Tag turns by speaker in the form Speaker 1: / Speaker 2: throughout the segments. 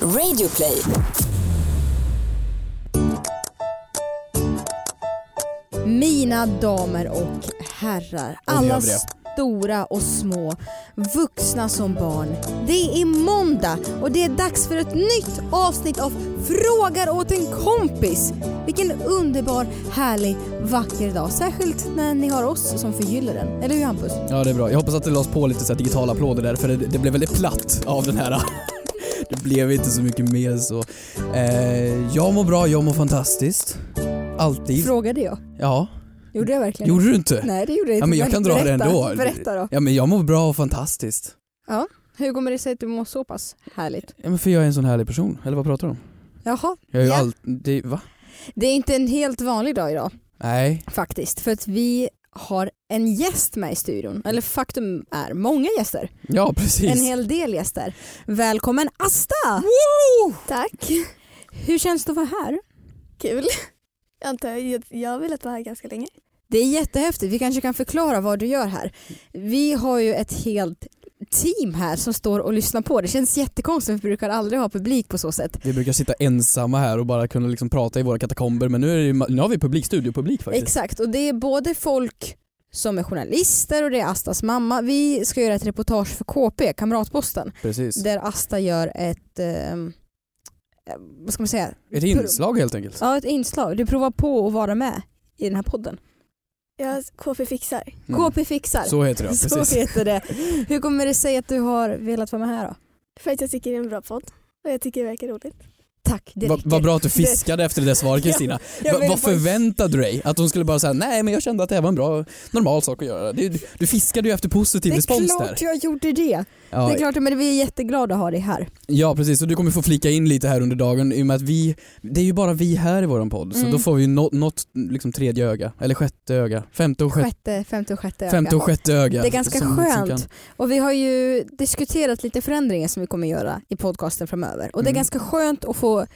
Speaker 1: Radioplay.
Speaker 2: Mina damer och herrar, alla stora och små, vuxna som barn. Det är måndag och det är dags för ett nytt avsnitt av Frågar åt en kompis. Vilken underbar, härlig, vacker dag. Särskilt när ni har oss som förgyller den. Eller hur Hampus?
Speaker 3: Ja, det är bra. Jag hoppas att det lades på lite så här digitala applåder där, för det, det blev väldigt platt av den här. Det blev inte så mycket mer än så. Eh, jag mår bra, jag mår fantastiskt. Alltid.
Speaker 2: Frågade jag.
Speaker 3: ja.
Speaker 2: Gjorde jag verkligen
Speaker 3: Gjorde du inte?
Speaker 2: Nej det gjorde jag inte.
Speaker 3: Ja, men jag kan dra det
Speaker 2: berätta,
Speaker 3: ändå.
Speaker 2: Berätta då.
Speaker 3: Ja, men jag mår bra och fantastiskt.
Speaker 2: Ja. Hur kommer det sig att du mår så pass härligt?
Speaker 3: Ja, men för jag är en sån härlig person. Eller vad pratar du om?
Speaker 2: Jaha.
Speaker 3: Jag är ju
Speaker 2: Ja.
Speaker 3: allt... Det, va?
Speaker 2: Det är inte en helt vanlig dag idag.
Speaker 3: Nej.
Speaker 2: faktiskt. För att vi har en gäst med i studion. Eller faktum är många gäster.
Speaker 3: Ja, precis.
Speaker 2: En hel del gäster. Välkommen Asta!
Speaker 4: Tack.
Speaker 2: Hur känns det att vara här?
Speaker 4: Kul. Jag, antar, jag, jag har velat vara här ganska länge.
Speaker 2: Det är jättehäftigt. Vi kanske kan förklara vad du gör här. Vi har ju ett helt team här som står och lyssnar på. Det känns jättekonstigt för vi brukar aldrig ha publik på så sätt.
Speaker 3: Vi brukar sitta ensamma här och bara kunna liksom prata i våra katakomber, men nu, är det ju, ma- nu har vi publik, studiopublik faktiskt.
Speaker 2: Exakt och det är både folk som är journalister och det är Astas mamma. Vi ska göra ett reportage för KP, Kamratposten,
Speaker 3: precis.
Speaker 2: där Asta gör ett, ehm, eh, vad ska man säga,
Speaker 3: Ett inslag helt enkelt.
Speaker 2: Ja, ett inslag. Du provar på att vara med i den här podden.
Speaker 4: Jag KP fixar.
Speaker 3: Mm.
Speaker 2: KP fixar.
Speaker 3: Så heter det, ja,
Speaker 2: Så
Speaker 3: precis.
Speaker 2: heter det. Hur kommer det sig att du har velat vara med här då?
Speaker 4: För att jag tycker det är en bra podd. Och jag tycker det verkar roligt.
Speaker 2: Tack, det
Speaker 3: Va-
Speaker 2: räcker.
Speaker 3: Vad bra att du fiskade efter det där svaret Kristina.
Speaker 2: jag
Speaker 3: Va-
Speaker 2: vill
Speaker 3: vad
Speaker 2: faktiskt-
Speaker 3: förväntade du dig? Att hon skulle bara säga nej men jag kände att det här var en bra normal sak att göra. Du, du fiskade ju efter positiv
Speaker 2: Det är
Speaker 3: respons
Speaker 2: klart
Speaker 3: där.
Speaker 2: jag gjorde det. Det
Speaker 3: Ja,
Speaker 2: är klart, men vi är jätteglada att ha dig här.
Speaker 3: ja precis och du kommer få flika in lite här under dagen i och med att vi, det är ju bara vi här i våran podd så
Speaker 2: Mm.
Speaker 3: då får vi ju nå- något liksom tredje öga eller sjätte öga, femte och sjätte,
Speaker 2: Sjätte, femte och sjätte
Speaker 3: femte och
Speaker 2: öga.
Speaker 3: sjätte öga.
Speaker 2: Det är ganska
Speaker 3: som- som
Speaker 2: skönt.
Speaker 3: kan-
Speaker 2: Och vi har ju diskuterat lite förändringar som vi kommer göra i podcasten framöver. Och det är
Speaker 3: Mm.
Speaker 2: ganska skönt att få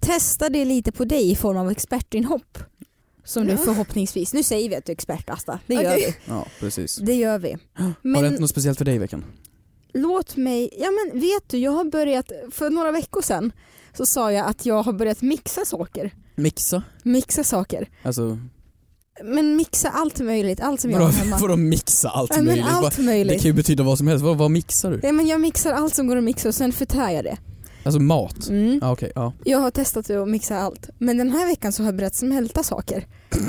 Speaker 2: testa det lite på dig i form av expertinhopp. Som du
Speaker 4: Ja.
Speaker 2: förhoppningsvis, nu säger vi att du är expert Asta, det gör
Speaker 4: Okej.
Speaker 3: ja precis.
Speaker 2: vi. Det gör vi.
Speaker 3: Har
Speaker 2: Men-
Speaker 3: det hänt något speciellt för dig i veckan?
Speaker 2: Låt mig, ja men vet du jag har börjat, för några veckor sedan så sa jag att jag har börjat mixa saker.
Speaker 3: Mixa?
Speaker 2: Mixa saker.
Speaker 3: Alltså,
Speaker 2: Men mixa allt möjligt, allt som jag
Speaker 3: vadå
Speaker 2: har hemma.
Speaker 3: vadå mixa allt
Speaker 2: ja, men
Speaker 3: möjligt? Vad-
Speaker 2: allt
Speaker 3: det
Speaker 2: möjligt.
Speaker 3: kan ju betyda vad som helst, vad, vad mixar du?
Speaker 2: Ja, men jag mixar allt som går att mixa och sen förtär jag det.
Speaker 3: Alltså mat?
Speaker 2: Mm.
Speaker 3: Ja, okej, ja.
Speaker 2: Jag har testat att mixa allt. Men den här veckan så har jag börjat smälta saker.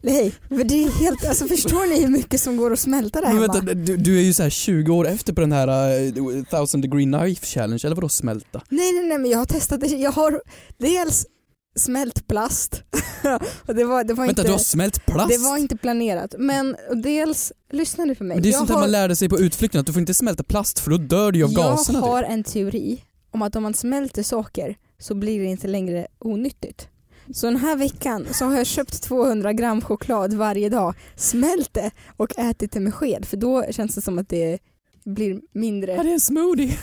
Speaker 2: Nej, för det är helt, alltså förstår ni hur mycket som går att smälta där
Speaker 3: Men
Speaker 2: hemma?
Speaker 3: vänta, du, du är ju så här 20 år efter på den här uh, 1000 degree knife challenge, eller vadå smälta?
Speaker 2: Nej, nej, nej, men jag har testat det. Jag har dels smält plast. och det var, det var
Speaker 3: Vänta,
Speaker 2: inte...
Speaker 3: du har smält plast?
Speaker 2: Det var inte planerat. Men dels, lyssna nu på mig.
Speaker 3: Men det är
Speaker 2: jag
Speaker 3: sånt här
Speaker 2: har,
Speaker 3: man lärde sig på utflykten, att du får inte smälta plast för då dör du ju av gaserna.
Speaker 2: jag
Speaker 3: typ.
Speaker 2: har en teori om att om man smälter saker så blir det inte längre onyttigt. Så den här veckan så har jag köpt 200 gram choklad varje dag, smält det och ätit det med sked för då känns det som att det blir
Speaker 3: Ja,
Speaker 2: mindre.
Speaker 3: det är en smoothie.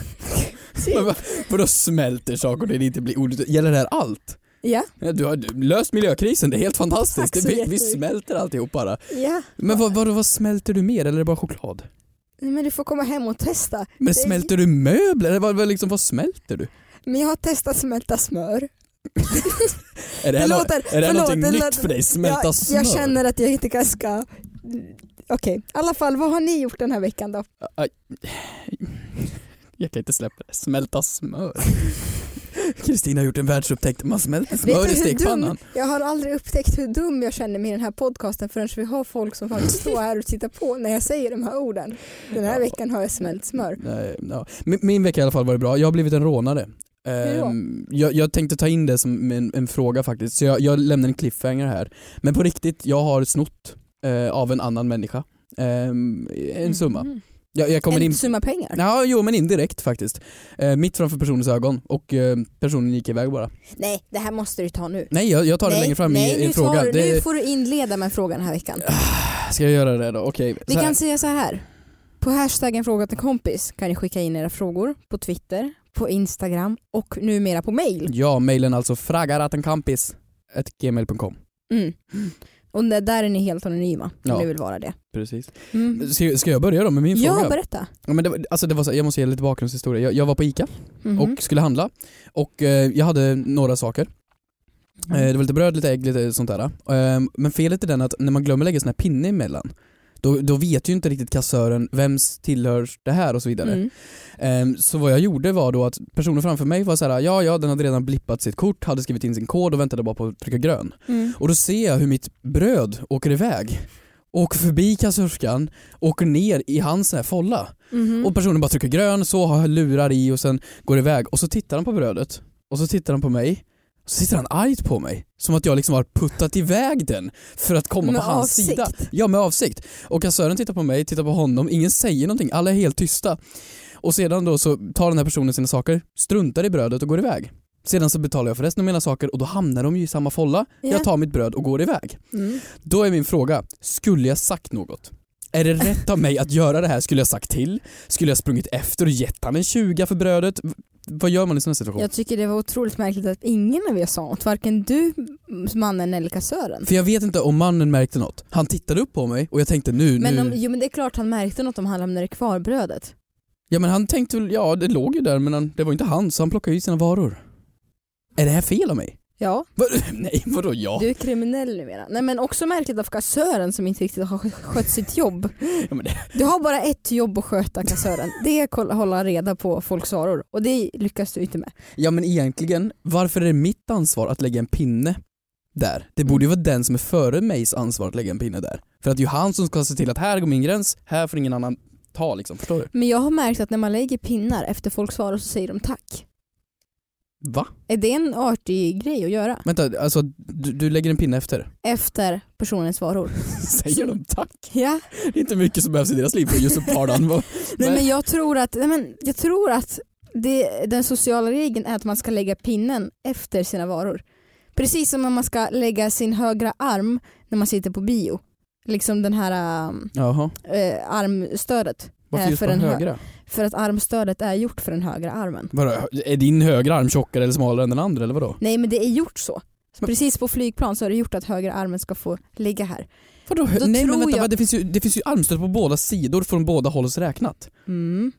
Speaker 3: Men va- Vadå smälter saker och det inte blir olyckligt? Gäller det här allt?
Speaker 2: Ja,
Speaker 3: Ja, Du har du- löst miljökrisen, det är helt fantastiskt.
Speaker 2: Tack så
Speaker 3: vi, vi
Speaker 2: jättemycket.
Speaker 3: smälter alltihop bara.
Speaker 2: ja.
Speaker 3: Men vad, vad, vad smälter du mer, eller är det bara choklad?
Speaker 2: Nej, Men du får komma hem och testa.
Speaker 3: Men
Speaker 2: Det är-
Speaker 3: smälter du möbler? Eller vad, vad, liksom, vad smälter du?
Speaker 2: Men jag har testat smälta smör.
Speaker 3: Är det,
Speaker 2: Det
Speaker 3: här, nå-
Speaker 2: låter-
Speaker 3: är det
Speaker 2: förlåt,
Speaker 3: här någonting
Speaker 2: det
Speaker 3: nytt
Speaker 2: låter-
Speaker 3: för dig? Smälta
Speaker 2: jag,
Speaker 3: smör?
Speaker 2: jag känner att jag inte ganska... Okej, i alla fall vad har ni gjort den här veckan då?
Speaker 3: Aj. Jag kan inte släppa det. Smälta smör. Kristina har gjort en världsupptäckt. Man smälter smör i
Speaker 2: Vet du hur
Speaker 3: stekpannan.
Speaker 2: Dum, jag har aldrig upptäckt hur dum jag känner mig i den här podcasten förrän vi har folk som faktiskt står här och tittar på när jag säger de här orden. Den här
Speaker 3: Ja.
Speaker 2: veckan har jag smält smör.
Speaker 3: Nej, ja. min, min vecka i alla fall var det bra. Jag har blivit en rånare.
Speaker 2: då?
Speaker 3: Ehm, jag, jag tänkte ta in det som en, en fråga faktiskt, så jag, jag lämnar en cliffhanger här. Men på riktigt, jag har snott eh, av en annan människa. Ehm, en summa.
Speaker 2: Mm.
Speaker 3: Jag, jag kommer
Speaker 2: En
Speaker 3: in...
Speaker 2: summa pengar?
Speaker 3: Ja, jo men indirekt faktiskt. Eh, mitt framför personens ögon och eh, personen gick iväg bara.
Speaker 2: Nej, det här måste du ta nu.
Speaker 3: Nej, jag, jag tar
Speaker 2: nej,
Speaker 3: det längre fram
Speaker 2: nej,
Speaker 3: i, i en
Speaker 2: nu
Speaker 3: fråga.
Speaker 2: Tar,
Speaker 3: det,
Speaker 2: Nu får du inleda med frågan den här veckan.
Speaker 3: Ska jag göra det då? Okej.
Speaker 2: Vi
Speaker 3: så här.
Speaker 2: kan säga så här. På hashtaggen fråga till kompis kan ni skicka in era frågor på Twitter, på Instagram och numera på mail.
Speaker 3: Ja, mejlen alltså fragarattenkampis.gmail.com
Speaker 2: Mm. Och där- där är ni helt anonyma om
Speaker 3: Ja.
Speaker 2: ni vill vara det.
Speaker 3: Precis.
Speaker 2: Mm.
Speaker 3: Ska, ska jag börja då med min
Speaker 2: Ja,
Speaker 3: fråga?
Speaker 2: berätta.
Speaker 3: Ja, men det, var- alltså det var så, jag måste ge lite bakgrundshistoria. Jag, jag var på ICA
Speaker 2: Mhm.
Speaker 3: och skulle handla och eh, jag hade några saker.
Speaker 2: Mm.
Speaker 3: Eh, det var lite bröd, lite ägg, lite sånt där. Eh, men felet är den att när man glömmer lägga sån här pinne emellan då, då vet ju inte riktigt kassören vems tillhör det här och så vidare.
Speaker 2: Mm.
Speaker 3: Ehm, Så vad jag gjorde var då att personen framför mig var så här: ja ja den hade redan blippat sitt kort, hade skrivit in sin kod och väntade bara på att trycka grön.
Speaker 2: Mm.
Speaker 3: Och då ser jag hur mitt bröd åker iväg. Åker förbi kassörskan, åker ner i hans sån här folla.
Speaker 2: Mhm.
Speaker 3: Och personen bara trycker grön, så har jag lurar i och sen går iväg. Och så tittar han på brödet. Och så tittar han på mig. Och så tittar han argt på mig. Som att jag liksom har puttat iväg den för att komma
Speaker 2: Med
Speaker 3: på hans
Speaker 2: avsikt.
Speaker 3: sida. Ja med avsikt. Och kassören tittar på mig, tittar på honom, ingen säger någonting, alla är helt tysta. Och sedan då så tar den här personen sina saker, struntar i brödet och går iväg. Sedan så betalar jag för resten av mina saker och då hamnar de ju i samma folla.
Speaker 2: Ja.
Speaker 3: Jag tar mitt bröd och går iväg.
Speaker 2: Mm.
Speaker 3: Då är min fråga, skulle jag sagt något? Är det rätt av mig att göra det här? Skulle jag sagt till? Skulle jag sprungit efter och gett han en 20 för brödet? V- vad gör man i sådana här situationer?
Speaker 2: Jag tycker det var otroligt märkligt att ingen av er sa något, varken du, mannen eller kassören.
Speaker 3: För jag vet inte om mannen märkte något. Han tittade upp på mig och jag tänkte nu,
Speaker 2: Men,
Speaker 3: nu.
Speaker 2: om, jo, men det är klart han märkte något om han lämnade kvar brödet.
Speaker 3: Ja men han tänkte väl, ja det låg ju där men han, det var ju inte han så han plockade ju sina varor. Är det här fel av mig?
Speaker 2: Ja,
Speaker 3: Va? Nej vadå ja?
Speaker 2: du är kriminell numera. Nej men också märkligt av kassören som inte riktigt har skött sitt jobb.
Speaker 3: Ja, men det-
Speaker 2: Du har bara ett jobb att sköta kassören. Det är att kolla- hålla reda på folks varor och det lyckas du inte med.
Speaker 3: Ja men egentligen, varför är det mitt ansvar att lägga en pinne där? Det borde ju vara den som är före mejs ansvar att lägga en pinne där. För att det är ju han som ska se till att här går min gräns, här får ingen annan ta liksom, förstår du?
Speaker 2: Men jag har märkt att när man lägger pinnar efter folks varor så säger de tack.
Speaker 3: Va?
Speaker 2: Är det en artig grej att göra?
Speaker 3: Vänta, alltså du, du lägger en pinne efter?
Speaker 2: Efter personens varor.
Speaker 3: Säger de tack?
Speaker 2: Ja.
Speaker 3: Det är inte mycket som behövs i deras liv för just att para den.
Speaker 2: Nej,
Speaker 3: Men-
Speaker 2: men jag tror att, nej, men jag tror att det, den sociala regeln är att man ska lägga pinnen efter sina varor. Precis som när man ska lägga sin högra arm när man sitter på bio. Liksom den här
Speaker 3: Jaha,
Speaker 2: äh, armstödet.
Speaker 3: varför
Speaker 2: Eh,
Speaker 3: just
Speaker 2: för
Speaker 3: på den
Speaker 2: den hö-
Speaker 3: högra?
Speaker 2: För att armstödet är gjort för den högra armen.
Speaker 3: Vadå, är din högra arm tjockare eller smalare än den andra eller vadå?
Speaker 2: Nej men det är gjort så.
Speaker 3: Men-
Speaker 2: Precis på flygplan så är det gjort att högra armen ska få ligga här.
Speaker 3: Vadå?
Speaker 2: Då
Speaker 3: Nej men
Speaker 2: tror
Speaker 3: vänta,
Speaker 2: jag-
Speaker 3: vad, det, finns ju, det finns ju armstöd på båda sidor från båda hålls räknat.
Speaker 2: Mm.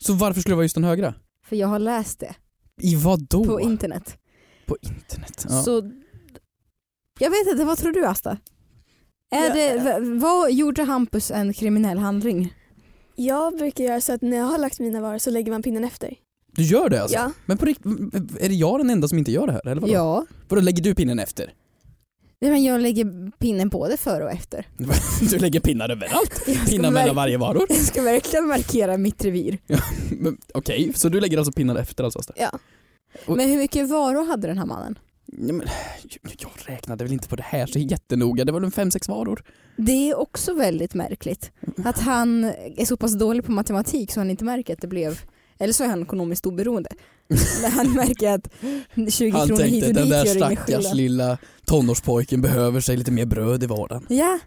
Speaker 3: Så varför skulle det vara just den högra?
Speaker 2: För jag har läst det
Speaker 3: I vad då?
Speaker 2: på internet.
Speaker 3: På internet? Ja.
Speaker 2: Så, jag vet inte, vad tror du Asta? Är
Speaker 4: Ja.
Speaker 2: det, v- vad gjorde Hampus en kriminell handling?
Speaker 4: Jag brukar göra så att när jag har lagt mina varor så lägger man pinnen efter.
Speaker 3: Du gör det alltså?
Speaker 4: Ja.
Speaker 3: Men på riktigt, är det jag den enda som inte gör det här eller vadå?
Speaker 2: Ja.
Speaker 3: Vadå lägger du pinnen efter?
Speaker 2: Nej, men jag lägger pinnen både före och efter.
Speaker 3: Du lägger pinnar överallt?
Speaker 2: Jag ska
Speaker 3: Pinnar
Speaker 2: verk-
Speaker 3: mellan varje varor?
Speaker 2: Jag ska verkligen markera mitt revir.
Speaker 3: Men, Okej, så du lägger alltså pinnar efter alltså? Asta?
Speaker 4: Ja.
Speaker 3: Och-
Speaker 2: Men hur mycket varor hade den här mannen?
Speaker 3: Nej, men, jag räknade väl inte på det här så jättenoga, det var väl fem, sex varor?
Speaker 2: Det är också väldigt märkligt att han är så pass dålig på matematik så han inte märker att det blev, eller så är han ekonomiskt oberoende. När han märker att 20
Speaker 3: Han
Speaker 2: kronor hit
Speaker 3: tänkte
Speaker 2: och dit
Speaker 3: den där
Speaker 2: gör ingen
Speaker 3: stackars
Speaker 2: skillnad.
Speaker 3: lilla tonårspojken behöver sig lite mer bröd i vardagen.
Speaker 2: Ja.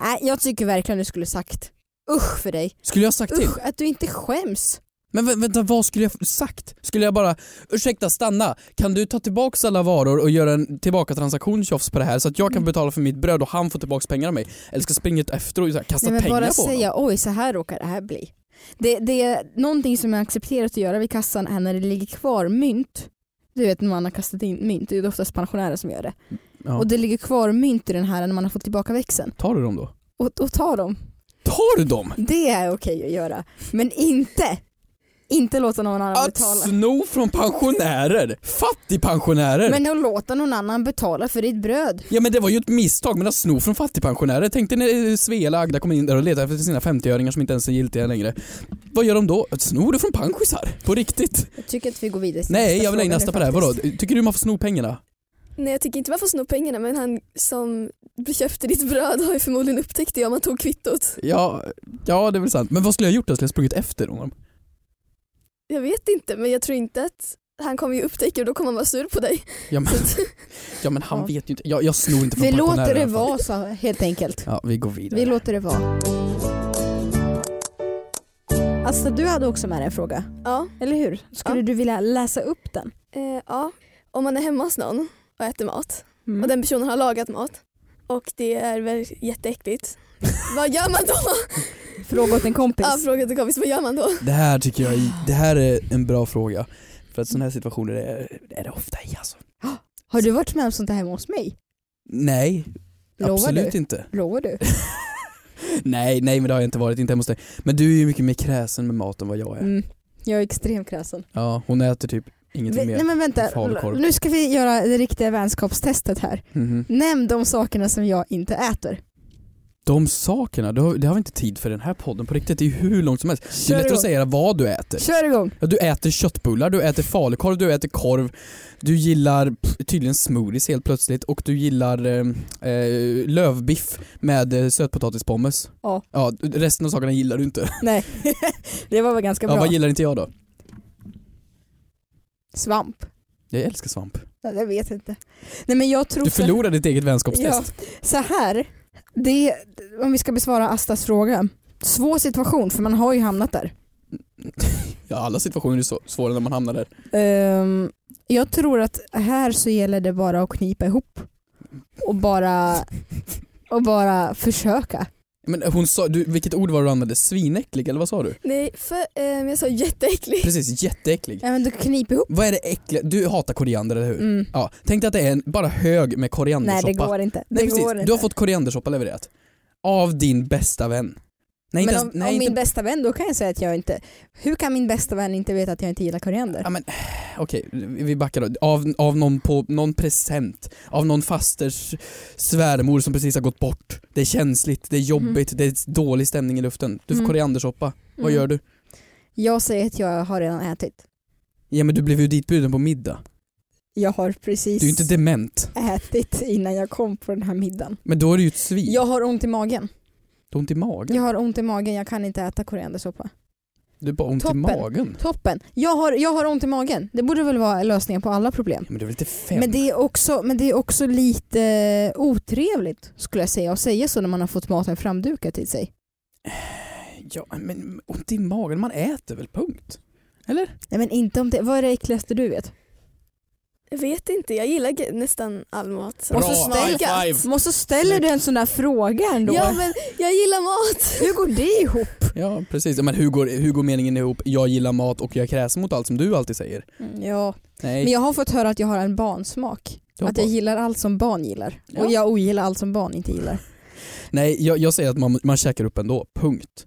Speaker 2: Nej, jag tycker verkligen du skulle sagt usch för dig.
Speaker 3: Skulle jag ha sagt till?
Speaker 2: Usch att du inte skäms.
Speaker 3: Men vä- vänta, vad skulle jag f- sagt? Skulle jag bara, ursäkta stanna, kan du ta tillbaks alla varor och göra en tillbaka transaktion tjofs på det här så att jag
Speaker 2: Mm.
Speaker 3: kan betala för mitt bröd och han får tillbaks pengar av mig? Eller ska jag springa ut efter och så här, kasta
Speaker 2: Nej, men
Speaker 3: pengar
Speaker 2: bara
Speaker 3: på honom?
Speaker 2: säga oj så här råkar det här bli. Det, det är någonting som är accepterat att göra vid kassan är när det ligger kvar mynt. Du vet när man har kastat in mynt, det är ju oftast pensionärer som gör det.
Speaker 3: Ja.
Speaker 2: Och det ligger kvar mynt i den här när man har fått tillbaka växeln.
Speaker 3: Tar du dem då?
Speaker 2: Och, och ta dem.
Speaker 3: Tar du dem?
Speaker 2: Det är okej att göra. Men inte, inte låta någon annan
Speaker 3: Att
Speaker 2: betala.
Speaker 3: sno från pensionärer! Fattigpensionärer!
Speaker 2: Men att låta någon annan betala för ditt bröd.
Speaker 3: Ja men det var ju ett misstag, men att sno från fattigpensionärer. Tänk dig när eh, Svea Agda kommer in där och letar efter sina 50-öringar som inte ens är giltiga längre. Vad gör de då? Snor du från panschisar? På riktigt?
Speaker 2: Jag tycker att vi går vidare till
Speaker 3: Nej,
Speaker 2: nästa
Speaker 3: jag vill
Speaker 2: fråga
Speaker 3: lägga
Speaker 2: nu
Speaker 3: nästa på det här. Vadå?
Speaker 2: faktiskt.
Speaker 3: Tycker du man får sno pengarna?
Speaker 4: Nej jag tycker inte man får sno pengarna men han som köpte ditt bröd har ju förmodligen upptäckt det om han tog kvittot.
Speaker 3: Ja, ja det är väl sant. Men vad skulle jag ha gjort då? Skulle jag ha sprungit efter honom?
Speaker 4: Jag vet inte men jag tror inte att han kommer ju upptäcka och då kommer han vara sur på dig.
Speaker 3: Ja men, ja, men han
Speaker 2: Ja.
Speaker 3: vet ju inte. Jag, jag snor inte från
Speaker 2: Vi
Speaker 3: pensionärer.
Speaker 2: låter
Speaker 3: i
Speaker 2: det
Speaker 3: alla fall.
Speaker 2: vara så helt enkelt.
Speaker 3: Ja, vi går vidare.
Speaker 2: Vi låter det vara. Asta, Alltså, du hade också med dig en fråga,
Speaker 4: Ja,
Speaker 2: eller hur? Skulle
Speaker 4: Ja.
Speaker 2: du vilja läsa upp den?
Speaker 4: Mm.
Speaker 3: Mm.
Speaker 4: eh, ja. Om man är hemma hos någon och äter mat och den personen har lagat mat och det är väl jätteäckligt. vad gör man då?
Speaker 2: Fråga åt en kompis.
Speaker 4: Ja, fråga till kompis, vad gör man då?
Speaker 3: Det här tycker jag är, det här är en bra fråga. För att sådana här situationer är, är det ofta i alltså.
Speaker 2: Har du varit med om sånt här hemma hos mig?
Speaker 3: Nej,
Speaker 2: Lovar
Speaker 3: absolut
Speaker 2: du?
Speaker 3: inte.
Speaker 2: Lovar du?
Speaker 3: Nej, nej men det har jag inte varit, inte hemma hos dig. Men du är ju mycket mer kräsen med mat än vad jag är.
Speaker 2: Mm. Jag är extremt kräsen.
Speaker 3: Ja, hon äter typ ingenting
Speaker 2: Vi-
Speaker 3: mer.
Speaker 2: Nej men vänta,
Speaker 3: falukorv.
Speaker 2: nu ska vi göra det riktiga vänskapstestet här.
Speaker 3: Mhm.
Speaker 2: Nämn de sakerna som jag inte äter.
Speaker 3: De sakerna, det har, det har vi inte tid för i den här podden på riktigt. Det är ju hur långt som helst. Det
Speaker 2: Kör
Speaker 3: är lättare
Speaker 2: igång.
Speaker 3: att säga vad du äter.
Speaker 2: Kör igång!
Speaker 3: Ja, du äter köttbullar, du äter falukorv, du äter korv, du gillar p- tydligen smoothies helt plötsligt och du gillar eh, eh, lövbiff med eh, sötpotatispommes.
Speaker 2: Ja.
Speaker 3: ja. Resten av sakerna gillar du inte.
Speaker 2: Nej, det var väl ganska
Speaker 3: Ja,
Speaker 2: bra.
Speaker 3: vad gillar inte jag då?
Speaker 2: Svamp.
Speaker 3: Jag älskar svamp.
Speaker 2: Ja, Jag vet inte. Nej men jag tror
Speaker 3: Du
Speaker 2: så-
Speaker 3: förlorar ditt eget vänskapstest.
Speaker 2: Så här, det, om vi ska besvara Astas fråga. Svår situation för man har ju hamnat där.
Speaker 3: Ja, alla situationer är så svåra när man hamnar där.
Speaker 2: Ehm, jag tror att här så gäller det bara att knipa ihop och bara, och bara försöka.
Speaker 3: Men hon sa, du, vilket ord var det du använde? Svinäcklig eller vad sa du?
Speaker 4: Nej, för, eh, jag sa jätteäckligt.
Speaker 3: Precis, jätteäcklig.
Speaker 2: Ja men du knip ihop.
Speaker 3: Vad är det äckliga? Du hatar koriander eller hur?
Speaker 2: Mm.
Speaker 3: Ja, tänk dig att det är en bara hög med
Speaker 2: Nej
Speaker 3: koriandersoppa.
Speaker 2: det går inte.
Speaker 3: Nej,
Speaker 2: det
Speaker 3: precis.
Speaker 2: går inte.
Speaker 3: Du har fått koriandersoppa levererat. Av din bästa vän. Nej, inte
Speaker 2: men om,
Speaker 3: ens, nej,
Speaker 2: om min
Speaker 3: inte,
Speaker 2: bästa vän då kan jag säga att jag inte, hur kan min bästa vän inte veta att jag inte gillar koriander?
Speaker 3: Ja, men, okej, vi vi backar då. Av, av någon, på, någon present, av någon fasters svärmor som precis har gått bort. Det är känsligt, det är jobbigt, det är dålig stämning i luften. Du får
Speaker 2: Mhm. Mm.
Speaker 3: koriandersoppa. Vad gör du?
Speaker 2: Jag säger att jag har redan ätit.
Speaker 3: Ja men du blev ju ditbjuden på middag.
Speaker 2: Jag har precis
Speaker 3: Du är ju inte dement.
Speaker 2: ätit innan jag kom på den här middagen.
Speaker 3: Men då är du ju ett svin.
Speaker 2: Jag har ont i magen.
Speaker 3: Du har ont i magen.
Speaker 2: Jag har ont i magen, jag kan inte äta koriandersoppa.
Speaker 3: Du har bara ont
Speaker 2: Toppen.
Speaker 3: i magen.
Speaker 2: Toppen! Jag har, jag har ont i magen. Det borde väl vara lösningen på alla problem.
Speaker 3: Ja, men det är väl lite fem.
Speaker 2: Men det, är också, men det är också lite eh, otrevligt skulle jag säga att säga så när man har fått maten framdukad till sig.
Speaker 3: Ja men ont i magen, man äter väl punkt? Eller?
Speaker 2: Nej men inte om det. Vad är det äckligaste du vet?
Speaker 4: Jag vet inte, jag gillar ge- nästan all mat.
Speaker 3: Bra,
Speaker 2: Och så ställ-
Speaker 3: high five.
Speaker 2: Men så ställer du en sån där fråga ändå.
Speaker 4: Ja men jag gillar mat.
Speaker 2: Hur går det ihop?
Speaker 3: Ja precis, Ja, men hur går, hur går meningen ihop? Jag gillar mat och jag är kräsen mot allt som du alltid säger.
Speaker 2: Ja.
Speaker 3: Mm, Nej,
Speaker 2: Men jag har fått höra att jag har en barnsmak.
Speaker 3: jag,
Speaker 2: Att jag gillar allt som barn gillar.
Speaker 3: Ja.
Speaker 2: Och jag ogillar allt som barn inte gillar.
Speaker 3: Nej jag, jag säger att man, man käkar upp ändå, punkt.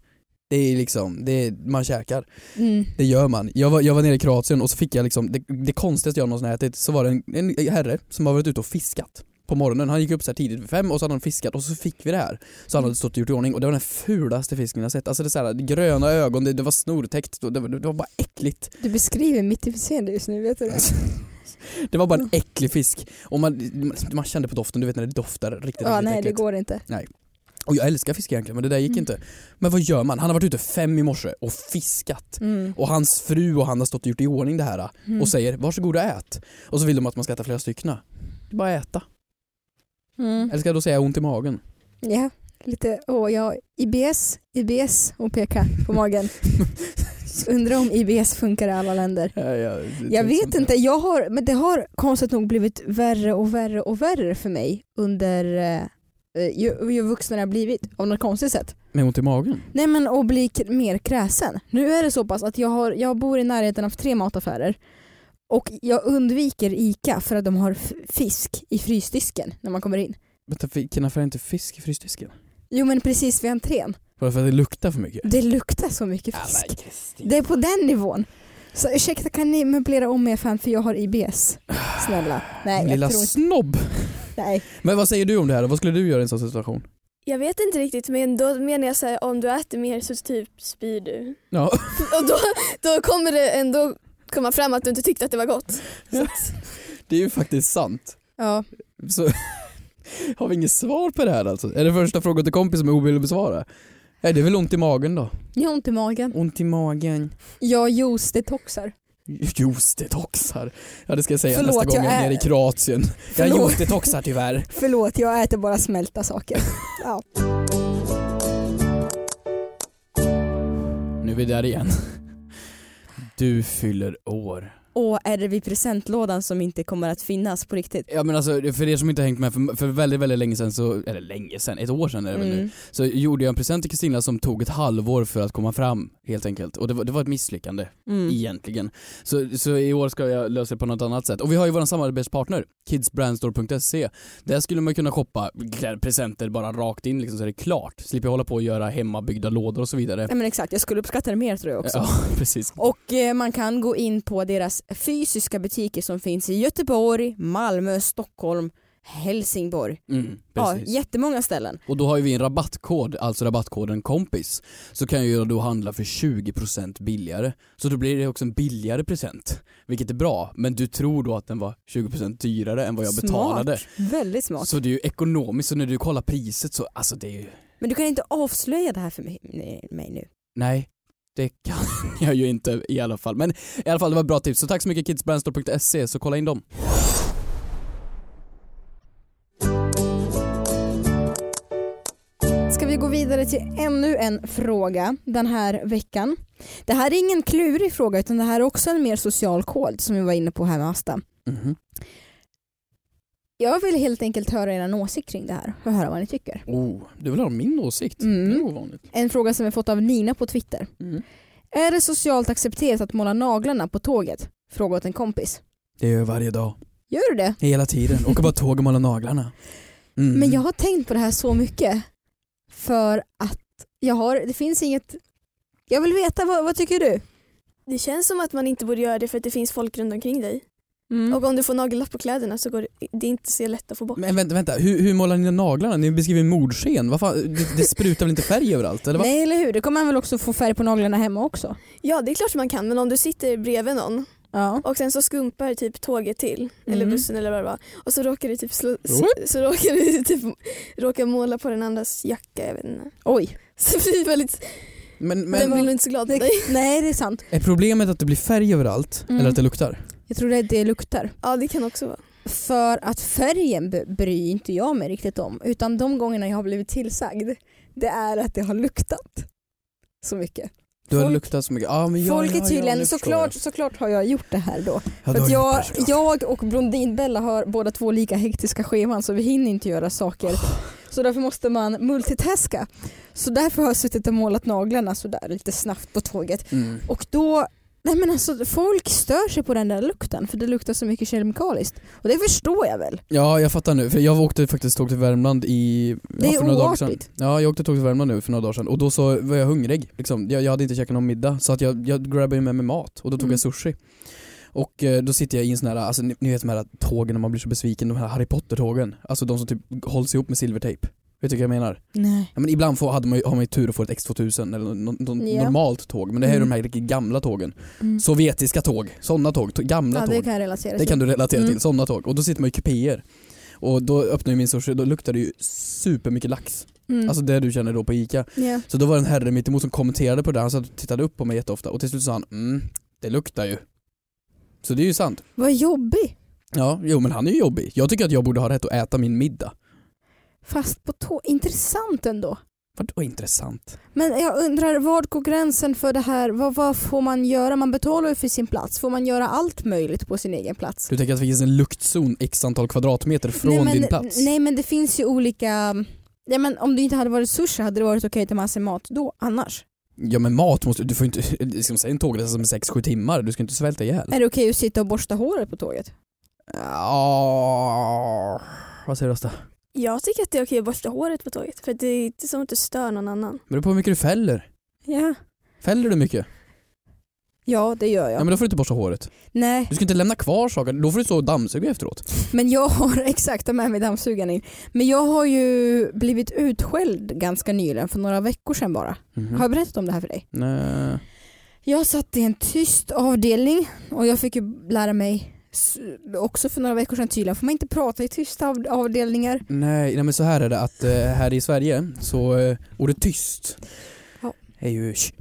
Speaker 3: Det är liksom, det är, man käkar.
Speaker 2: Mm.
Speaker 3: Det gör man. Jag var, jag var nere i Kroatien och så fick jag liksom, det, det konstigaste jag någonsin ätit, så var det en, en herre som har varit ute och fiskat på morgonen. Han gick upp så här tidigt vid fem och så hade han fiskat och så fick vi det här. Så han hade stått och gjort i ordning och det var den fulaste fisken jag sett. Alltså det, är så här, gröna ögon, det, det var snortäckt, det, var- det var bara äckligt.
Speaker 2: Du beskriver mitt utseende just nu, vet du det?
Speaker 3: Det var bara en äcklig fisk. Och man, man kände på doften, du vet när det doftar riktigt,
Speaker 2: Ja,
Speaker 3: riktigt
Speaker 2: nej det
Speaker 3: äckligt.
Speaker 2: går inte.
Speaker 3: Och jag älskar fisk egentligen men det där gick
Speaker 2: Mm.
Speaker 3: inte. Men vad gör man? Han har varit ute fem i morse och fiskat.
Speaker 2: Mm.
Speaker 3: Och hans fru och han har stått och gjort i ordning det här och
Speaker 2: Mm.
Speaker 3: säger varsågod och ät. Och så vill de att man ska äta flera stycken. Det är bara att äta.
Speaker 2: Mm.
Speaker 3: Eller ska jag då säga ont i magen?
Speaker 2: Ja, lite. Åh, jag IBS, IBS och peka på magen. Undrar om IBS funkar i alla länder.
Speaker 3: Jag,
Speaker 2: Jag vet inte, jag har, men det har konstigt nog blivit värre och värre och värre för mig under eh, ju, ju vuxnare jag blivit av något konstigt sätt.
Speaker 3: Med ont i magen?
Speaker 2: Nej men att bli k- mer kräsen. Nu är det så pass att jag, har, jag bor i närheten av tre mataffärer och jag undviker ICA för att de har f- fisk i frysdisken när man kommer in.
Speaker 3: Vänta, vilken affär är inte fisk i frysdisken?
Speaker 2: Jo men precis vid entrén.
Speaker 3: Var det för att det luktar för mycket?
Speaker 2: Det luktar så mycket
Speaker 3: Ja,
Speaker 2: fisk.
Speaker 3: men Kristin.
Speaker 2: Det är på den nivån. Så ursäkta kan ni möblera om er fan för jag har IBS. Snälla. Nej
Speaker 3: Lilla
Speaker 2: jag tror inte.
Speaker 3: snobb!
Speaker 2: Nej.
Speaker 3: Men vad säger du om det här Vad skulle du göra i en sån situation?
Speaker 4: Jag vet inte riktigt men då menar jag så här, om du äter mer så typ spyr du.
Speaker 3: Ja.
Speaker 4: Och då, då kommer det ändå komma fram att du inte tyckte att det var gott. Så att,
Speaker 3: Det är ju faktiskt sant.
Speaker 2: Ja.
Speaker 3: Så har vi inget svar på det här alltså? Är det första frågan till kompis som är ovillig att besvara? Nej, det är väl ont i magen då?
Speaker 2: Jag har ont i magen.
Speaker 3: Ont i magen.
Speaker 2: Jag juice-detoxar.
Speaker 3: Juice-detoxar. Ja det ska jag säga
Speaker 2: Förlåt,
Speaker 3: nästa gång
Speaker 2: jag
Speaker 3: jag är
Speaker 2: är-
Speaker 3: nere i Kroatien. Jag
Speaker 2: Förlåt.
Speaker 3: juice-detoxar tyvärr.
Speaker 2: Förlåt, jag äter bara smälta saker. Ja.
Speaker 3: Nu är vi där igen. Du fyller år.
Speaker 2: och är det vid presentlådan som inte kommer att finnas på riktigt?
Speaker 3: Ja men alltså för er som inte hängt med, för, för väldigt väldigt länge sedan så, eller länge sedan, ett år sedan är det väl nu,
Speaker 2: Mm.
Speaker 3: så gjorde jag en present till Kristina som tog ett halvår för att komma fram helt enkelt. Och det var, det var ett misslyckande
Speaker 2: Mm.
Speaker 3: egentligen. Så, så i år ska jag lösa det på något annat sätt. Och vi har ju vår samarbetspartner, kidsbrandstore.se. Där skulle man kunna shoppa kläder, presenter bara rakt in liksom, så är det klart. Slipper hålla på och göra hemmabyggda lådor och så vidare.
Speaker 2: Nej men exakt, jag skulle uppskatta det mer tror jag också.
Speaker 3: Ja, precis.
Speaker 2: Och eh, man kan gå in på deras fysiska butiker som finns i Göteborg, Malmö, Stockholm, Helsingborg.
Speaker 3: Mm,
Speaker 2: Ja,
Speaker 3: precis.
Speaker 2: jättemånga ställen.
Speaker 3: Och då har ju vi en rabattkod, alltså rabattkoden kompis. Så kan jag då handla för 20% billigare. Så då blir det också en billigare present. Vilket är bra, men du tror då att den var 20% dyrare än vad jag
Speaker 2: Smart.
Speaker 3: betalade.
Speaker 2: Väldigt smart.
Speaker 3: Så det är ju ekonomiskt, så när du kollar priset så, alltså det är ju,
Speaker 2: Men du kan inte avslöja det här för mig, nej, mig nu.
Speaker 3: nej. Det kan jag ju inte i alla fall. Men i alla fall, det var ett bra tips. Så tack så mycket kidsbrandstore.se, så kolla in dem.
Speaker 2: Ska vi gå vidare till ännu en fråga den här veckan. Det här är ingen klurig fråga utan det här är också en mer social kod som vi var inne på här med Asta.
Speaker 3: Mhm.
Speaker 2: Jag vill helt enkelt höra er åsikt kring det här och höra vad ni tycker.
Speaker 3: Oh, du vill ha min åsikt?
Speaker 2: Mm.
Speaker 3: Det är ovanligt.
Speaker 2: En fråga som vi fått av Nina på Twitter.
Speaker 3: Mm.
Speaker 2: Är det socialt accepterat att måla naglarna på tåget? Fråga åt en kompis.
Speaker 3: Det gör jag varje dag.
Speaker 2: Gör du det?
Speaker 3: Hela tiden. Åker bara tåg och målar naglarna. Mm.
Speaker 2: Men jag har tänkt på det här så mycket. För att jag har, det finns inget... Jag vill veta, vad, vad tycker du?
Speaker 4: Det känns som att man inte borde göra det för att det finns folk runt omkring dig.
Speaker 2: Och,
Speaker 3: Mm.
Speaker 4: Och om du får nagellack på kläderna så går det, det är inte så lätt att få bort.
Speaker 3: Men vänta, vänta. Hur, hur målar ni naglarna? Ni beskriver mordsken. Vad fan? Det, det sprutar väl inte färg överallt? Eller vad?
Speaker 2: nej eller hur, det kommer man väl också få färg på naglarna hemma också?
Speaker 4: Ja det är klart man kan men om du sitter bredvid någon
Speaker 2: Ja.
Speaker 4: och sen så skumpar typ tåget till eller
Speaker 2: Mm.
Speaker 4: bussen eller vad det var och så råkar du typ, slå, så, så råkar du typ råkar måla på den andras jacka. Jag vet inte.
Speaker 2: Oj.
Speaker 4: Så det blir väldigt,
Speaker 3: Men,
Speaker 4: den blir
Speaker 3: men
Speaker 4: nog inte så glad för dig.
Speaker 2: Nej det är sant.
Speaker 3: är problemet att det blir färg överallt?
Speaker 2: Mm.
Speaker 3: Eller att det luktar?
Speaker 2: Jag tror det är det luktar.
Speaker 4: Ja det kan också vara.
Speaker 2: För att färgen b- bryr inte jag mig riktigt om. Utan de gångerna jag har blivit tillsagd, det är att det har luktat så mycket.
Speaker 3: Du har
Speaker 2: Folk-
Speaker 3: luktat så mycket. Ja, men ja,
Speaker 2: Folk
Speaker 3: ja,
Speaker 2: är tydligen,
Speaker 3: ja, nu förstår
Speaker 2: såklart, såklart har jag gjort det här då.
Speaker 3: jag. Ja,
Speaker 2: För
Speaker 3: du har
Speaker 2: att jag,
Speaker 3: gjort det, såklart.
Speaker 2: jag och Blondinbella har båda två lika hektiska scheman så vi hinner inte göra saker. Så därför måste man multitaska. Så därför har jag suttit och målat naglarna sådär lite snabbt på tåget.
Speaker 3: Mm.
Speaker 2: Och då, nej men alltså folk stör sig på den där lukten för det luktar så mycket kemikaliskt. Och det förstår jag väl.
Speaker 3: Ja, jag fattar nu. För jag åkte faktiskt tåg till Värmland i...
Speaker 2: Det
Speaker 3: ja,
Speaker 2: är
Speaker 3: för några dagar sedan.
Speaker 2: oartigt.
Speaker 3: Ja, jag åkte tåg till Värmland nu för några dagar sedan och då så var jag hungrig. Liksom. Jag, jag hade inte käkat någon middag så att jag, jag grabbade ju med mig mat och då tog
Speaker 2: Mm.
Speaker 3: jag sushi. Och eh, då sitter jag i en sån här, alltså, ni, ni vet de här tågen när man blir så besviken, de här Harry Potter-tågen. Alltså de som typ hålls ihop med silvertejp. Vet du vad jag menar?
Speaker 2: Nej.
Speaker 3: Ja, men ibland får, hade man, ju- har man ju tur och får ett X2000 eller något något
Speaker 2: Ja.
Speaker 3: normalt tåg. Men det här är
Speaker 2: Mm.
Speaker 3: de här riktigt gamla tågen.
Speaker 2: Mm.
Speaker 3: Sovjetiska tåg, sådana tåg, t- gamla
Speaker 2: Ja,
Speaker 3: tåg.
Speaker 2: det kan jag relatera
Speaker 3: Det
Speaker 2: till.
Speaker 3: kan du relatera
Speaker 2: Mm.
Speaker 3: till, sådana tåg. Och då sitter man i kupéer. Och då öppnar ju min sushi, då luktar det ju supermycket lax.
Speaker 2: Mm.
Speaker 3: Alltså det du känner då på ICA.
Speaker 2: Ja.
Speaker 3: Så då var det en herre mittemot som kommenterade på det, han satt och tittade upp på mig jätteofta och till slut sa han mm, det luktar ju. Så det är ju sant.
Speaker 2: Vad jobbig.
Speaker 3: Ja, jo men han är ju jobbig. Jag tycker att jag borde ha rätt att äta min middag.
Speaker 2: Fast på tå. Intressant ändå.
Speaker 3: Vadå intressant?
Speaker 2: Men jag undrar, var går gränsen för det här? Vad, vad får man göra? Man betalar ju för sin plats. Får man göra allt möjligt på sin egen plats?
Speaker 3: Du tänker att det finns en luktzon x antal kvadratmeter från
Speaker 2: nej, men,
Speaker 3: din plats?
Speaker 2: Nej men det finns ju olika... Ja, men om det inte hade varit sushi hade det varit okej att ta med sig mat då annars?
Speaker 3: Ja men mat måste du får inte, liksom, säg en tågresa som är 6-7 timmar, du ska inte svälta ihjäl.
Speaker 2: Är det okej att sitta och borsta håret på tåget?
Speaker 3: Ja, vad säger du Asta?
Speaker 4: Jag tycker att det är okej att borsta håret på tåget för att det är inte som att du stör någon annan.
Speaker 3: Men det beror på hur mycket du fäller.
Speaker 2: Ja.
Speaker 3: Fäller du mycket?
Speaker 2: Ja det gör
Speaker 3: Ja.
Speaker 2: jag.
Speaker 3: men då får du inte borsta håret.
Speaker 2: Nej
Speaker 3: Du ska inte lämna kvar saker, då får du stå och dammsuga efteråt.
Speaker 2: men jag har exakt ta med mig dammsugaren in. Men jag har ju blivit utskälld ganska nyligen för några veckor sedan bara.
Speaker 3: Mhm.
Speaker 2: Har jag berättat om det här för dig?
Speaker 3: Nej.
Speaker 2: Jag satt i en tyst avdelning och jag fick ju lära mig s- också för några veckor sedan tydligen får man inte prata i tysta av- avdelningar.
Speaker 3: Nej, nej men så här är det att eh, här i Sverige så eh, ordet tyst
Speaker 2: Ja.
Speaker 3: är ju sh,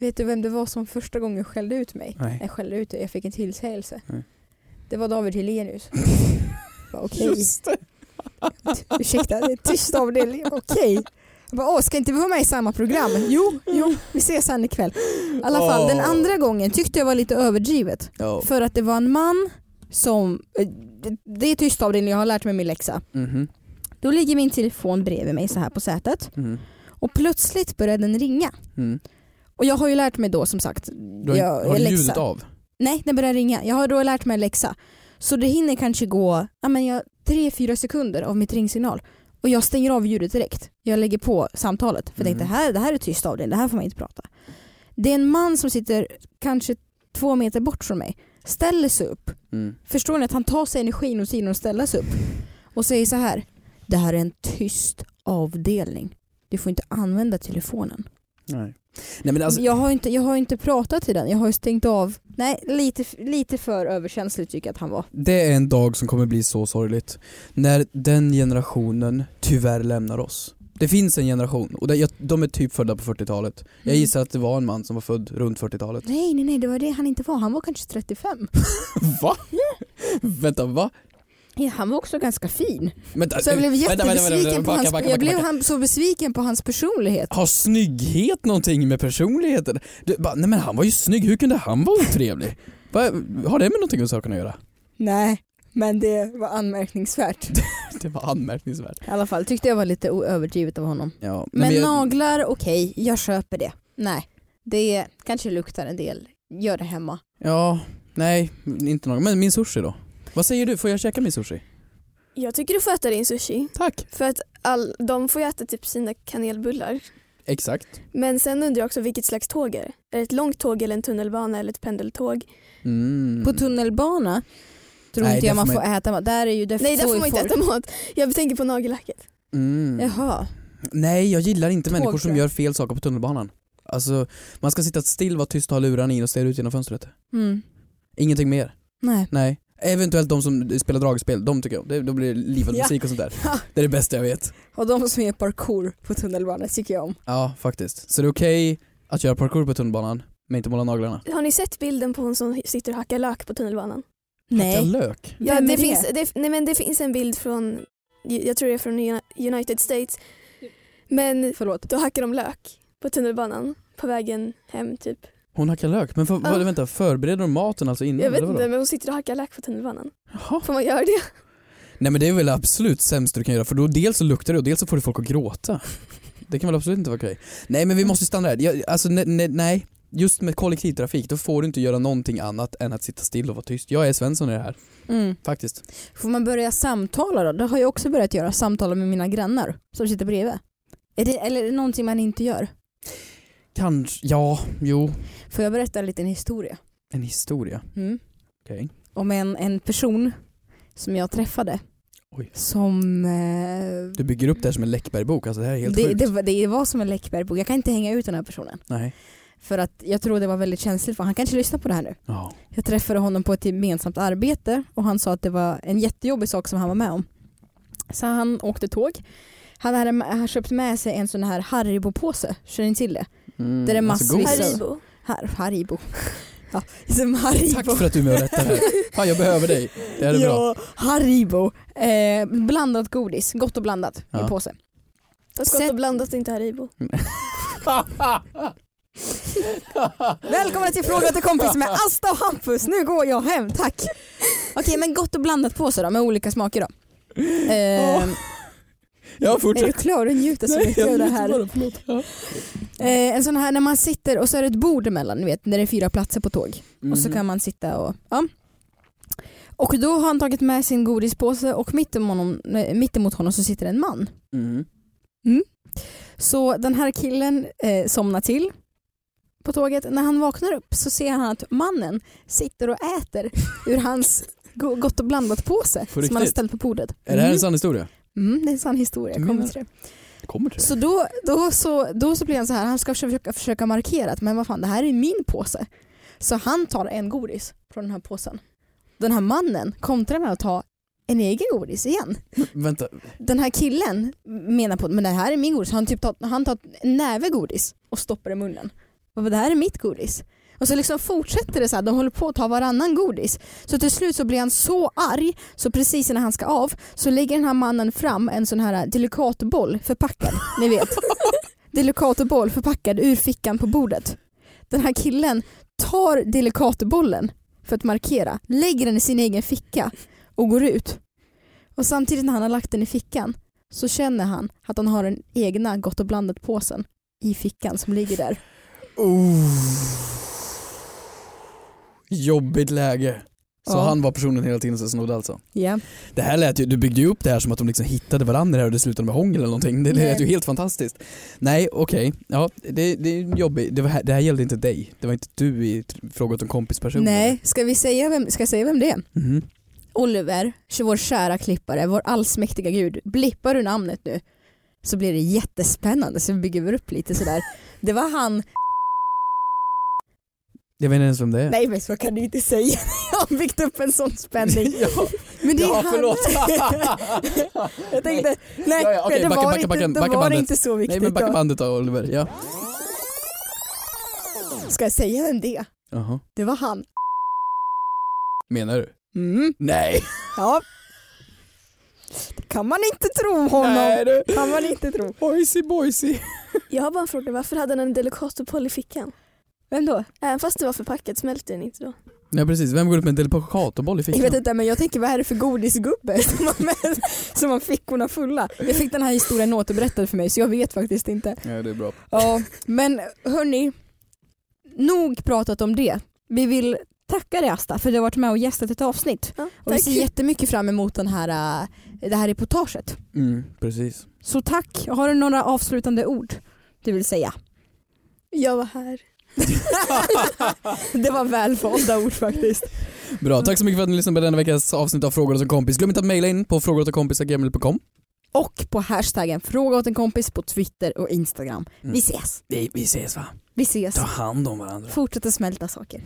Speaker 2: Vet du vem det var som första gången skällde ut mig?
Speaker 3: nej.
Speaker 2: Jag skällde ut dig, jag fick en tillsägelse.
Speaker 3: Nej.
Speaker 2: Det var David Hellenius. Jag bara, Okej. Ursäkta, det är en tyst avdelning. Okej. Jag bara, Åh, ska inte vi vara med i samma program? Jo, jo, vi ses sen ikväll. I alla fall, den
Speaker 3: Åh.
Speaker 2: andra gången tyckte jag var lite överdrivet.
Speaker 3: Ja.
Speaker 2: För att det var en man som, eh, det- det är tyst av dig när jag har lärt mig min läxa.
Speaker 3: Mhm.
Speaker 2: Då ligger min telefon bredvid mig så här på sätet
Speaker 3: Mhm.
Speaker 2: och plötsligt börjar den ringa.
Speaker 3: Mm.
Speaker 2: Och jag har ju lärt mig då som sagt,
Speaker 3: Du har,
Speaker 2: jag,
Speaker 3: har
Speaker 2: jag
Speaker 3: du
Speaker 2: läxa.
Speaker 3: ljudet av?
Speaker 2: Nej, den börjar ringa. Jag har då lärt mig en läxa. Så det hinner kanske gå ja, men jag, 3-4 sekunder av mitt ringsignal. Och jag stänger av ljudet direkt. Jag lägger på samtalet. För jag tänkte
Speaker 3: Mm.
Speaker 2: här, det här är tyst av det. det här får man inte prata. Det är en man som sitter kanske två meter bort från mig. Ställer sig upp.
Speaker 3: Mm.
Speaker 2: Förstår ni att han tar sig energin och sidan och ställer sig upp. Och säger så här. Det här är en tyst avdelning. Du får inte använda telefonen.
Speaker 3: Nej. Nej men alltså,
Speaker 2: Jag, har inte, jag har inte pratat till den, jag har ju stängt av. Nej, lite, lite för överkänslig tycker jag att han var.
Speaker 3: Det är en dag som kommer bli så sorgligt. När den generationen tyvärr lämnar oss. Det finns en generation och det, jag, de är typ födda på 40-talet. Jag
Speaker 2: Mm.
Speaker 3: gissar att det var en man som var född runt 40-talet.
Speaker 2: Nej, nej, nej, det var det han inte var. Han var kanske 35.
Speaker 3: Va? Vänta, va?
Speaker 2: Ja, han var också ganska fin.
Speaker 3: Vänta,
Speaker 2: Så jag blev
Speaker 3: Äh, vänta, vänta, vänta,
Speaker 2: jättebesviken på
Speaker 3: backa,
Speaker 2: hans,
Speaker 3: backa,
Speaker 2: jag
Speaker 3: backa,
Speaker 2: blev
Speaker 3: backa.
Speaker 2: han, så besviken på hans personlighet.
Speaker 3: Har snygghet någonting med personligheten? Du, bara, nej men han var ju snygg, hur kunde han vara otrevlig? Va, har det med någonting med saken att göra?
Speaker 2: Nej, men det var anmärkningsvärt.
Speaker 3: Det var anmärkningsvärt.
Speaker 2: I alla fall, tyckte jag var lite o- överdrivet av honom.
Speaker 3: Ja, nej,
Speaker 2: Men,
Speaker 3: jag-
Speaker 2: naglar, okej, jag köper det. Nej, det kanske luktar en del. Gör det hemma.
Speaker 3: Ja, nej, inte någon. Men min sushi då? Vad säger du, får jag käka min sushi?
Speaker 4: Jag tycker du får äta din sushi.
Speaker 3: Tack.
Speaker 4: För att all, de får ju äta typ sina kanelbullar.
Speaker 3: Exakt.
Speaker 4: Men sen undrar jag också vilket slags tåg är det? Är det ett långt tåg eller en tunnelbana eller ett pendeltåg?
Speaker 3: Mm.
Speaker 2: På tunnelbana tror
Speaker 3: Nej,
Speaker 2: inte
Speaker 3: där
Speaker 2: jag
Speaker 3: får
Speaker 2: man får
Speaker 3: man
Speaker 2: äta mat. Där är ju det
Speaker 4: Nej, där
Speaker 2: så
Speaker 4: får
Speaker 2: är
Speaker 4: man inte
Speaker 2: folk.
Speaker 4: äta mat. Jag tänker på nagellacket.
Speaker 3: Mm.
Speaker 2: Jaha.
Speaker 3: Nej, jag gillar inte
Speaker 2: Tåg,
Speaker 3: människor som
Speaker 2: tror jag.
Speaker 3: gör fel saker på tunnelbanan. Alltså, man ska sitta still, vara tyst, ha lurarna in och stirra ut genom fönstret.
Speaker 2: Mm.
Speaker 3: Ingenting mer.
Speaker 2: Nej.
Speaker 3: Nej. Eventuellt de som spelar dragspel, de tycker jag om. Det- Då blir det livad
Speaker 2: Ja.
Speaker 3: musik och sånt där.
Speaker 2: Ja.
Speaker 3: Det är det bästa jag vet.
Speaker 2: Och de som gör parkour på tunnelbanan tycker jag om.
Speaker 3: Ja, faktiskt. Så det är okej att göra parkour på tunnelbanan, men inte måla naglarna.
Speaker 4: Har ni sett bilden på hon som sitter och hackar lök på tunnelbanan?
Speaker 3: Hacka
Speaker 2: Nej.
Speaker 3: lök.
Speaker 2: Ja,
Speaker 4: det, Finns, det, nej, men det finns en bild från, jag tror det är från Uni- United States. Men
Speaker 2: Förlåt.
Speaker 4: då hackar de lök på tunnelbanan på vägen hem typ.
Speaker 3: Hon hackar lök. Men för, vad,
Speaker 4: Ja.
Speaker 3: vänta, förbereder de maten alltså innan?
Speaker 4: Ah. Jag
Speaker 2: Mm,
Speaker 4: vet
Speaker 3: eller vadå?
Speaker 4: inte men hon sitter och hackar lök på tunnelbanan.
Speaker 3: Jaha.
Speaker 4: Får man göra det?
Speaker 3: Nej men det är väl absolut sämst du kan göra för då dels så luktar det och dels så får du folk att gråta. Det kan väl absolut inte vara okej. Nej men vi måste stanna där. Jag, alltså ne, ne, nej, just med kollektivtrafik då får du inte göra någonting annat än att sitta still och vara tyst. Jag är Svensson i det här,
Speaker 2: Mm.
Speaker 3: faktiskt.
Speaker 2: Får man börja samtala då? Det har jag också börjat göra, samtala med mina grannar som sitter bredvid. Är det, eller är det någonting man inte gör?
Speaker 3: Kanske, ja, jo,
Speaker 2: Får jag berätta en liten historia?
Speaker 3: en historia.
Speaker 2: Mm.
Speaker 3: Okej.
Speaker 2: Om en, en person som jag träffade
Speaker 3: Oj.
Speaker 2: som... Eh,
Speaker 3: Du bygger upp det här som en Läckberg-bok, alltså det här är helt
Speaker 2: det,
Speaker 3: sjukt.
Speaker 2: det, var- det var som en Läckbergbok, jag kan inte hänga ut den här personen.
Speaker 3: Nej.
Speaker 2: För att jag tror det var väldigt känsligt för han kanske lyssnar på det här nu.
Speaker 3: Ja.
Speaker 2: Jag träffade honom på ett gemensamt arbete och han sa att det var en jättejobbig sak som han var med om. Så han åkte tåg. Han hade han köpt med sig en sån här Haribo-påse, känner ni till det?
Speaker 3: Mm,
Speaker 2: Det är massvis
Speaker 3: godis.
Speaker 2: av-
Speaker 4: Haribo.
Speaker 2: Har, Haribo. Ja, som Haribo.
Speaker 3: Tack för att du mörättar här. Fan jag behöver dig. Det här är bra.
Speaker 2: ja, Haribo. Eh, blandat godis, gott och blandat i
Speaker 3: Ja.
Speaker 2: en påse.
Speaker 4: Fast gott
Speaker 2: Sätt-
Speaker 4: och blandat är inte Haribo.
Speaker 2: Välkomna till Fråga till kompis med Asta och Hampus. Nu går jag hem, tack. Okej men gott och blandat påse då med olika smaker då. Eh,
Speaker 3: Ja
Speaker 2: är du
Speaker 3: fortsätt.
Speaker 2: klar? Du njuter så mycket av det här.
Speaker 3: njuter bara, förlåt. Ja.
Speaker 2: Eh, en sån här när man sitter och så är det ett bord emellan, ni vet när det är fyra platser på tåg. Och så kan man sitta och, ja. Och då har han tagit med sin godispåse och mitt emot honom, eh, mitt emot honom så sitter en man.
Speaker 3: Mhm.
Speaker 2: Så den här killen eh, somnar till på tåget. När han vaknar upp så ser han att mannen sitter och äter ur hans go- gott och blandat påse
Speaker 3: På
Speaker 2: som han har
Speaker 3: riktigt?
Speaker 2: ställt på bordet.
Speaker 3: Är det här
Speaker 2: Mm.
Speaker 3: en sann historia?
Speaker 2: Mm, det är en sann historia, jag kommer till det.
Speaker 3: Kommer till det.
Speaker 2: Så då, då, så då så blir han så här, han ska försöka, försöka markera att men vad fan det här är min påse. Så han tar en godis från den här påsen. Den här mannen kontrar med att ta en egen godis igen.
Speaker 3: Vänta,
Speaker 2: Den här killen menar på att men det här är min godis. Han, typ tar, han tar en näve godis och stoppar i munnen. Och bara, det här är mitt godis. Och så liksom fortsätter det så här, de håller på att ta varannan godis. Så till slut så blir han så arg så precis innan han ska av så lägger den här mannen fram en sån här delikatboll förpackad, ni vet. Delikatoboll förpackad ur fickan på bordet. Den här killen tar delikatobollen för att markera, lägger den i sin egen ficka och går ut. Och samtidigt när han har lagt den i fickan så känner han att han har den egna Gott och blandat-påsen i fickan som ligger där.
Speaker 3: Oh. Jobbigt läge. Så
Speaker 2: Ja.
Speaker 3: han var personen hela tiden som snodde alltså.
Speaker 2: Ja.
Speaker 3: Det här lät ju, du byggde ju upp det här som att de liksom hittade varandra här och det slutade med hångel eller någonting. Det lät
Speaker 2: Nej.
Speaker 3: ju helt fantastiskt. Nej, okej. Ja, det, det är jobbigt. Det, var, här- det här gällde inte dig. Det var inte du i t- frågat om kompisperson.
Speaker 2: Nej, ska, vi säga vem, ska jag säga vem det är?
Speaker 3: Mhm.
Speaker 2: Oliver, vår kära klippare, vår allsmäktiga gud. Blippar du namnet nu så blir det jättespännande så vi bygger upp lite sådär. Det var han,
Speaker 3: Jag vet inte ens vem det är.
Speaker 2: nej men så kan du inte säga. Jag har byggt upp en sån spänning.
Speaker 3: ja,
Speaker 2: Men det är
Speaker 3: ja,
Speaker 2: han.
Speaker 3: förlåt.
Speaker 2: Jag tänkte, nej,
Speaker 3: Ja, ja, okej,
Speaker 2: det
Speaker 3: backa,
Speaker 2: var,
Speaker 3: backa,
Speaker 2: inte,
Speaker 3: backa,
Speaker 2: det
Speaker 3: backa
Speaker 2: var
Speaker 3: bandet.
Speaker 2: inte så
Speaker 3: Nej
Speaker 2: viktigt.
Speaker 3: men backa
Speaker 2: då.
Speaker 3: bandet då Oliver. Ja.
Speaker 2: Ska jag säga vem det är?
Speaker 3: Jaha.
Speaker 2: Det var han.
Speaker 3: Menar du?
Speaker 2: Mm,
Speaker 3: Nej.
Speaker 2: ja. Det kan man inte tro honom.
Speaker 3: Nej du.
Speaker 2: kan man inte tro.
Speaker 3: Oisy boisy.
Speaker 4: Jag har bara en fråga, varför hade han en Delicatoboll i fickan?
Speaker 2: Vem då?
Speaker 4: Även fast det var förpackat smälter den inte då?
Speaker 3: Ja precis, vem går ut med en delikatoboll i
Speaker 2: Jag vet
Speaker 3: fickan?
Speaker 2: inte men jag tänker vad är det för godisgubbe som har, med, som har fickorna fulla? Jag fick den här historien återberättad för mig så jag vet faktiskt inte.
Speaker 3: Ja det är bra.
Speaker 2: Ja, men hörni, nog pratat om det. Vi vill tacka dig Asta för att du har varit med och gästat ett avsnitt.
Speaker 4: Ja,
Speaker 2: Och vi ser jättemycket fram emot den här, äh, det här reportaget.
Speaker 3: Mm, precis.
Speaker 2: Så tack, har du några avslutande ord du vill säga?
Speaker 4: Jag var här.
Speaker 2: Det var välvalda ord faktiskt.
Speaker 3: Bra, tack så mycket för att ni lyssnade på denna veckas avsnitt av Frågor åt en kompis. Glöm inte att mejla in på frågoråtenkompis.gmail.com.
Speaker 2: Och på hashtaggen fråga åt en kompis på Twitter och Instagram.
Speaker 3: Mm.
Speaker 2: Vi ses.
Speaker 3: Vi, vi ses va?
Speaker 2: Vi ses.
Speaker 3: Ta hand om varandra.
Speaker 2: Fortsätt att smälta saker.